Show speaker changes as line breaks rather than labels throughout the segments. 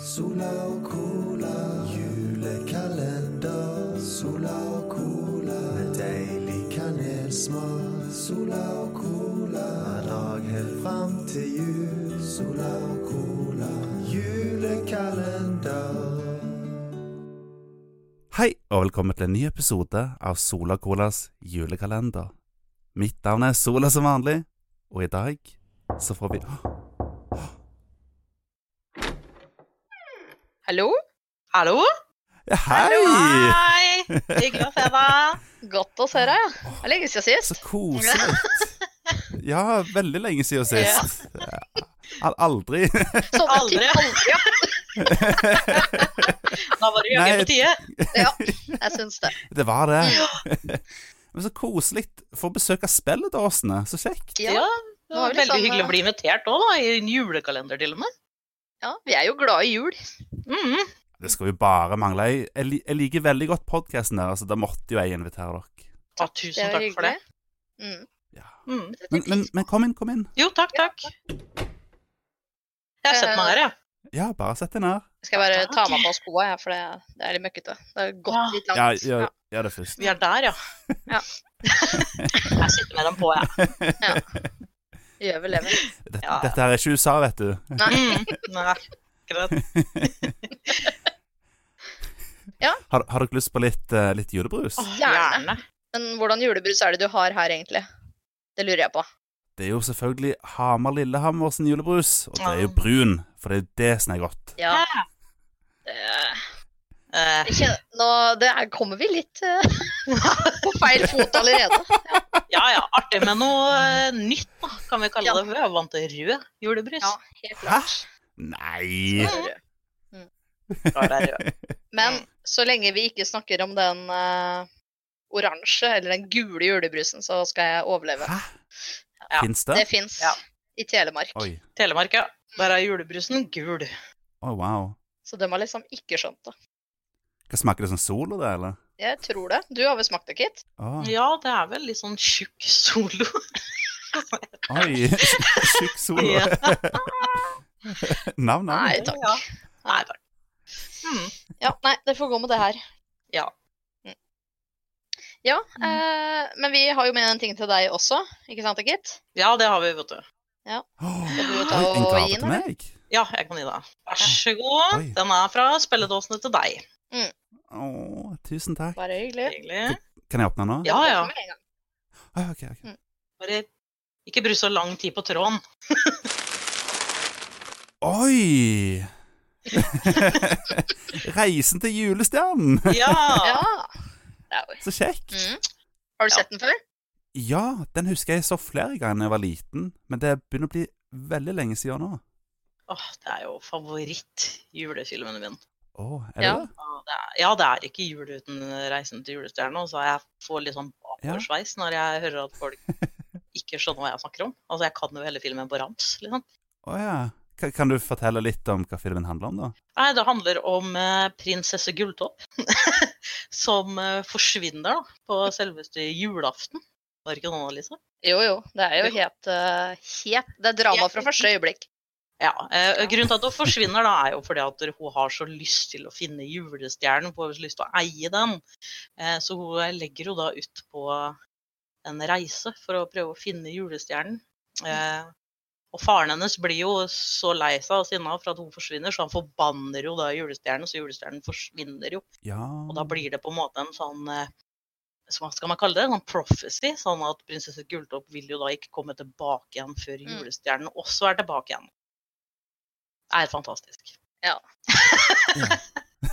Sola og cola, julekalender. Sola og cola, med deilig kanelsmak. Sola og cola, hver dag helt fram til jul. Sola og cola, julekalender.
Hei, og velkommen til en ny episode av Sola Colas julekalender. Mitt navn er Sola som vanlig, og i dag så får vi Åh,
Hallo? Hallo?
ja,
Hallo,
Hei!
hei! Hyggelig å se deg. Godt å se deg. Det er lenge siden
Så
sist.
koselig. Ja, veldig lenge siden sist. Ja, aldri.
Sånn,
Aldri.
Ja,
Da var det
Nei.
jaggu på tide.
jeg syns det.
Det var det. Men så koselig. Få besøk av spilledåsene. Så kjekt.
Ja.
Ja,
Nå har vi
veldig
liksom,
hyggelig å bli invitert òg, da. I en julekalender til og med.
ja, vi er jo glad i jul.
Mhm.
Det skal jo bare mangle. Jeg- Jeg, li- jeg liker veldig godt podkasten deres, så da måtte jo jeg invitere dere.
Ja,
Det
tusen
er jo
takk for det.
hyggelig. Mm.
Mhm.
Men, men, men kom inn, kom inn.
Jo, takk, takk. Jeg har sett meg her, jeg.
Ja, bare sett deg ned.
Skal jeg bare ta meg på skoa, jeg, for det, det er litt møkkete. Det har gått
Ja,
litt langt.
gjør, gjør det først.
Vi er der, ja.
Ja.
Jeg sitter med dem på, jeg.
Gjør vel det. vel.
Dette,
Ja.
dette her er ikke USA, vet du.
Mhm. Nei, greit.
Har, har dere lyst på litt, eh, litt julebrus?
Åh,
Gjerne.
Gjerne.
Men hvordan julebrus er det du har her, egentlig? Det lurer jeg på.
Det er jo selvfølgelig Hamar Lillehammer sin julebrus, og det er jo brun, for det er jo det som er godt.
Ja.
Ja.
Det,
Eh,
jeg kjenner- nå, det er, kommer vi litt eh, på feil fot allerede.
Ja ja, artig med noe eh, nytt, da, kan vi kalle
Ja.
det. for Jeg er vant til rød julebrus.
Ja, helt klart.
Nei!
Sånn Ja, det er rød.
Mm.
Men så lenge vi ikke snakker om den eh, oransje eller den gule julebrusen, så skal jeg overleve.
Hæ?
Ja,
Fins
Det
det?
fins
Ja.
i Telemark.
Oi.
Telemark, ja. Der er julebrusen gul.
Å, wow.
Så de har liksom ikke skjønt det.
Hva Smaker det som solo, det, eller?
Jeg tror det. Du har vel smakt det, Kit?
Å,
Ja, det er vel litt sånn tjukk solo.
Oi, tjukk solo.
Ja.
Navn,
Nei
navn.
takk.
Ja. Nei takk. Mm.
Ja, nei, det får gå med det her.
Ja.
Mm. Ja,
Mm.
eh, men vi har jo med en ting til deg også, ikke sant, Kit?
Ja, det har vi, vet du.
Åh,
Skal du
Oi,
ta
en
og
gave
gi
til
den, eller?
meg?
Ja, jeg kan gi deg. Vær så god.
Oi.
Den er fra spilledåsene til deg.
Å, tusen takk.
Bare hyggelig.
Hyggelig.
Kan jeg åpne nå?
Ja, ja.
Med en gang.
Ah, ok, ok.
Bare ikke bruk så lang tid på tråden.
Oi! Reisen til julestjernen!
Ja.
Ja. Det er jo-
Så kjekt.
Mm. Har du
Ja.
sett den før?
Ja, den husker jeg så flere ganger da jeg var liten, men det begynner å bli veldig lenge siden nå.
Åh, det er jo favoritt-julefilmen min.
Å, er det
Ja.
det?
Ja, det er- Ja, det er ikke jul uten Reisen til julestjerna, så jeg får litt sånn bakoversveis når jeg hører at folk ikke skjønner hva jeg snakker om. Altså, jeg kan jo hele filmen på rams, liksom.
Å ja. Kan, kan du fortelle litt om hva filmen handler om, da?
Nei, det handler om eh, prinsesse Gulltopp, som eh, forsvinner da, på selveste julaften. Var det ikke noen, Lisa?
Jo jo, det er jo helt, eh, helt Det er drama
Helt
fra første øyeblikk.
Ja. Eh, grunnen til at hun forsvinner, da, er jo fordi at hun har så lyst til å finne julestjernen, hun har så lyst til å eie den. Eh, så hun legger jo da ut på en reise for å prøve å finne julestjernen. Eh, og faren hennes blir jo så lei seg og sinna for at hun forsvinner, så han forbanner jo da julestjernen, så julestjernen forsvinner jo.
Ja
Og da blir det på en måte en sånn eh, så Hva skal man kalle det? En sånn prophecy. Sånn at prinsesse Gulltopp vil jo da ikke komme tilbake igjen før
Mm.
julestjernen også er tilbake igjen. Det er fantastisk.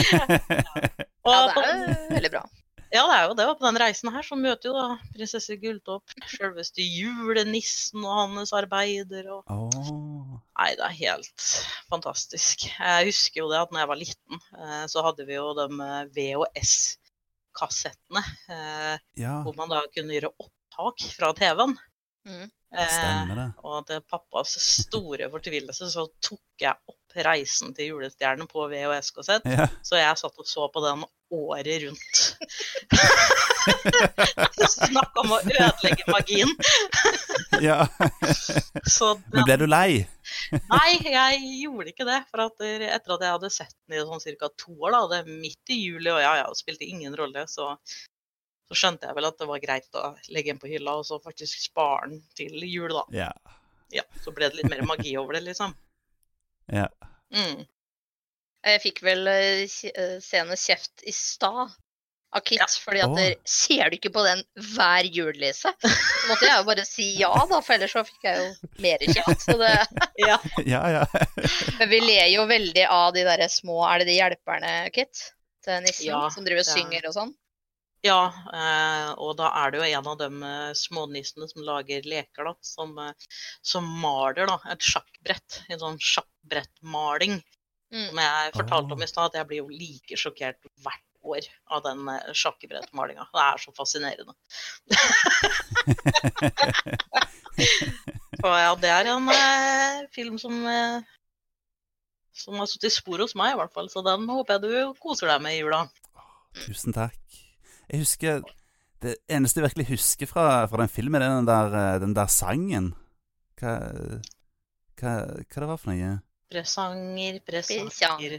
Og
Ja,
på,
det er jo veldig bra.
ja, det er jo det. Og på den reisen her så møter jo da prinsesse Gulltopp selveste julenissen og hans arbeider og
Å.
Nei, det er helt fantastisk. Jeg husker jo det at når jeg var liten, eh, så hadde vi jo de eh, VHS-kassettene. eh,
Ja,
hvor man da kunne gjøre opptak fra TV-en.
Mm.
Eh,
stemmer det.
og til pappas store fortvilelse så tok jeg opp Reisen til julestjernen på VHS-kassett,
Ja.
så jeg satt og så på den året rundt. Snakk om å ødelegge magien.
Ja.
Så
Men ble du lei?
Nei, jeg gjorde ikke det. For at der- etter at jeg hadde sett den i sånn ca. to år, da, det er midt i juli, og ja, ja, det spilte ingen rolle, så, så skjønte jeg vel at det var greit å legge den på hylla, og så faktisk spare den til jul, da.
Ja.
Ja, så ble det litt mer magi over det, liksom.
Ja.
Mm.
Jeg fikk vel eh, kje- eh, senest kjeft i stad av Kit,
Ja.
fordi at
Åh.
der, Ser du ikke på den hver jul, Lise? Så måtte jeg jo bare si ja, da, for ellers så fikk jeg jo mer kjeft. Så det,
Ja.
Ja, ja.
men vi ler jo veldig av de derre små Er det de hjelperne, Kit? Til nissen?
Ja,
som driver og
det er-
synger og sånn?
ja eh, og da er det jo en av de eh, smånissene som lager leker, da, som, eh, som maler da, et sjakkbrett. En sånn sjakkbrettmaling.
Mm.
Som jeg fortalte om
Ah.
i stad, at jeg blir jo like sjokkert hvert år av den eh, sjakkebrettmalinga. Det er så fascinerende. så ja, det er en eh, film som eh, som har sittet i spor hos meg, i hvert fall. Så den håper jeg du koser deg med i jula.
Tusen takk. Jeg husker Det eneste jeg virkelig husker fra, fra den filmen, er den der, eh, den der sangen. Hva, hva, hva det var for noe?
Presanger, presanger,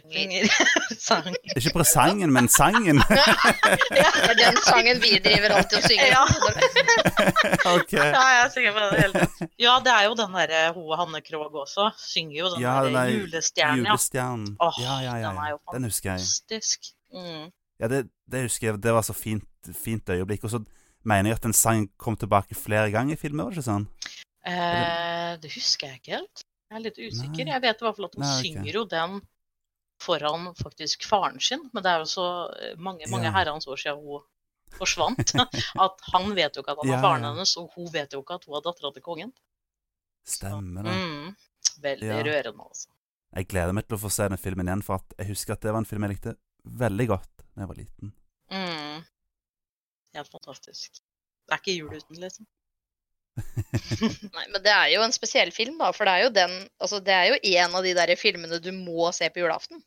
Presanger.
presanger. presanger.
Ikke presangen, men sangen.
Det er den sangen vi driver alltid og synger.
Ja.
ok.
Ja, jeg er sikker på det hele tatt. Ja, det er jo den derre Hoa Hanne Krogh også. Synger jo den
Ja,
der
den der
julestjernen, ja.
Julestjernen.
Åh,
Ja, ja, ja.
den er jo
ja. Den husker jeg.
Fantastisk. Mm.
Ja, det, det husker jeg. Det var så fint, fint øyeblikk. Og så mener jeg at den sangen kom tilbake flere ganger i filmen, var det ikke sånn?
Eh, det husker jeg ikke helt. Jeg er litt usikker.
Nei.
Jeg vet i hvert fall at hun
Nei, ok.
synger jo den foran faktisk faren sin, men det er jo så eh, mange, mange
Ja.
herrens år siden hun forsvant, at han vet jo ikke at han
Ja,
er faren
ja.
hennes, og hun vet jo ikke at hun er dattera til kongen.
Stemmer det.
Mm. Veldig
Ja.
rørende, altså.
Jeg gleder meg til å få se den filmen igjen, for at jeg husker at det var en film jeg likte veldig godt da jeg var liten.
Mm. Helt fantastisk. Det er ikke jul uten, liksom.
Nei, men det er jo en spesiell film, da. For det er jo den Altså, det er jo en av de derre filmene du må se på julaften.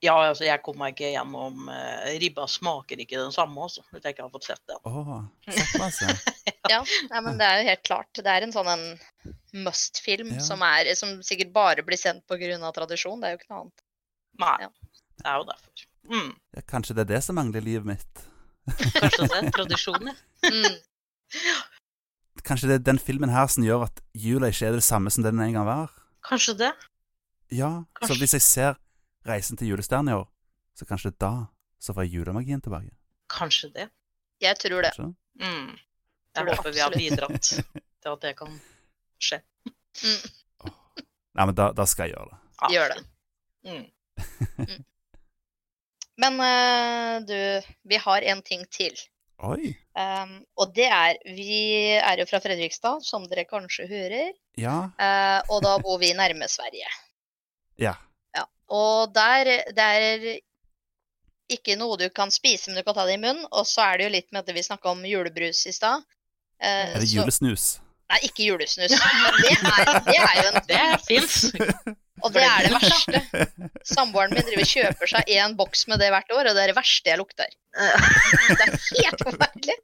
Ja, altså, jeg kom meg ikke gjennom eh, Ribba smaker ikke den samme, altså. Hvis jeg ikke har fått sett den.
Åh, såpass, ja.
Nei, men det er jo helt klart. Det er en sånn en must-film
Ja.
som, er- som sikkert bare blir sendt pga. tradisjon. Det er jo ikke noe annet.
Nei.
Ja.
Det er jo derfor. Mm.
ja. Kanskje det er det som mangler i livet mitt.
Kanskje det er tradisjon, ja.
Mm.
Kanskje det er den filmen her som gjør at jula ikke er det samme som den en gang var?
Kanskje det.
Ja, så
Kanskje.
hvis jeg ser Reisen til julestjernen i år, så kanskje da så får jeg julemagien tilbake.
Kanskje det.
Jeg tror det.
Kanskje?
Mm.
Tror
Jeg
det
håper vi har
absolutt.
bidratt til at det kan skje.
Mm.
Nei, men da, da skal jeg gjøre det.
Ja,
Gjør det.
fint. Mm.
Men eh, du, vi har en ting til.
Oi.
Um, og det er Vi er jo fra Fredrikstad, som dere kanskje hører.
Ja.
eh, og da bor vi nærme Sverige.
Ja.
Ja, og der, det er ikke noe du kan spise, men du kan ta det i munnen. Og så er det jo litt med at vi snakka om julebrus i stad. Eh,
Er det
så-
julesnus?
Nei, ikke julesnus. Men det er, det er jo en
Det fins.
Og det er det verste. Samboeren min driver og kjøper seg en boks med det hvert år, og det er det verste jeg lukter. Det er helt forferdelig.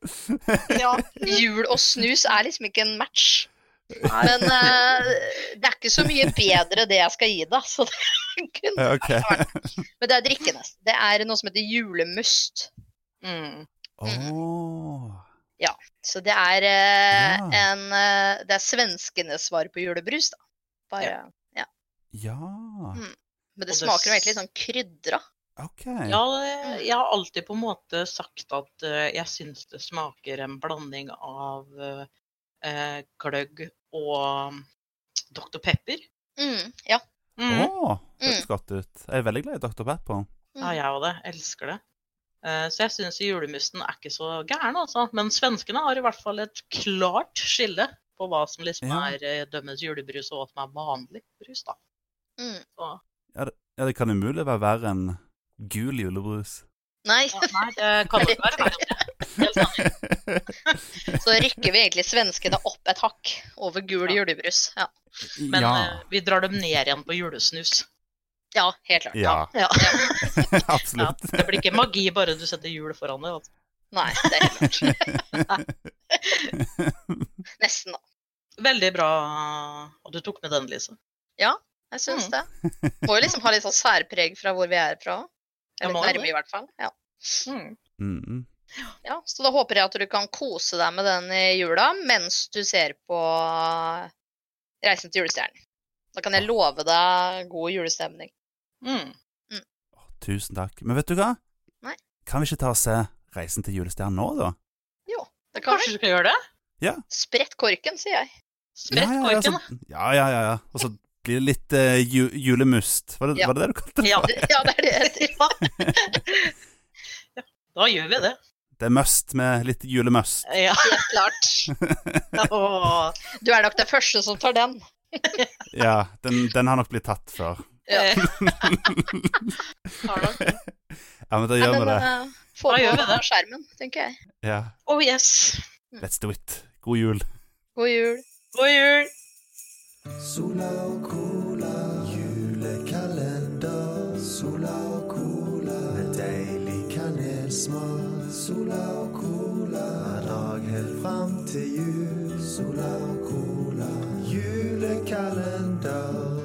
Ja.
Jul og snus er liksom ikke en match. Men eh, det er ikke så mye bedre det jeg skal gi deg. Så det er kun
Ja, ok.
Men det er drikke, nesten. Det er noe som heter julemust.
Mm.
Åh.
Så det er eh,
Ja.
en eh, Det er svenskenes svar på julebrus, da. Bare,
Ja.
Men det
Og det
smaker jo
s-
egentlig litt sånn krydra.
Ok.
Ja, det- jeg har alltid på en måte sagt at eh, jeg syns det smaker en blanding av eh, eh, gløgg og Dr. Pepper.
Mm, ja.
Mm.
Åh, det høres godt ut. Jeg er veldig glad i Dr. Pepper.
Mm,
Ah, Ja, jeg òg det. Elsker det. Eh, Så jeg syns julemusten er ikke så gæren, altså. Men svenskene har i hvert fall et klart skille på hva som liksom
Ja.
er eh, dømmes julebrus, og hva som er vanlig brus, da.
Mm.
Ja, det kan umulig være verre enn gul julebrus.
Nei,
Ja, nei, det kan jo ikke være verre. Helt enig.
så rykker vi egentlig svenskene opp et hakk over gul
Ja.
julebrus. Ja,
Men
ja.
eh, vi drar dem ned igjen på julesnus.
ja helt klart.
Ja.
Ja.
Absolutt.
eh, Det blir ikke magi bare du setter jul foran det. Altså.
Nei, det er helt klart. Nesten, da.
Veldig bra eh, at du tok med denne, Lise.
Jeg syns
Mm.
det. Må jo liksom ha litt sånn særpreg fra hvor vi er fra.
Jeg
Eller
må jo
nærme,
det.
i hvert fall. Ja.
Mm.
Mm, mm.
ja. Så da håper jeg at du kan kose deg med den i jula mens du ser på eh, Reisen til julestjernen. Da kan jeg love deg god julestemning.
Mm.
Å, Tusen takk. Men vet du hva?
Nei.
Kan vi ikke ta og se Reisen til julestjernen nå, da?
Det kan
Kanskje
vi.
du skal gjøre det?
Spredt korken, sier jeg.
Sprett
ja, ja,
korken.
altså, ja, ja, ja, ja. Og så blir det litt eh, ju julemust. Var det,
Ja.
var det det du kalte det?
Ja,
Ja, det er det jeg heter. Ja.
da gjør vi det.
Det er must med litt julemust.
Ja.
Helt klart.
Åh.
Du er nok den første som tar den.
Ja, den, den har nok blitt tatt før.
Ja.
eh, Har nok-
Ja, men da gjør
Nei,
vi
men,
det.
eh, Få
Da gjør
på
vi det.
skjermen, tenker jeg.
Ja.
Oh yes.
Let's do it. God jul.
God jul.
God jul.
Sola og cola, julekalender. Sola og cola, med deilig kanelsmak. Sola og cola, hver dag helt fram til jul. Sola og cola, julekalender.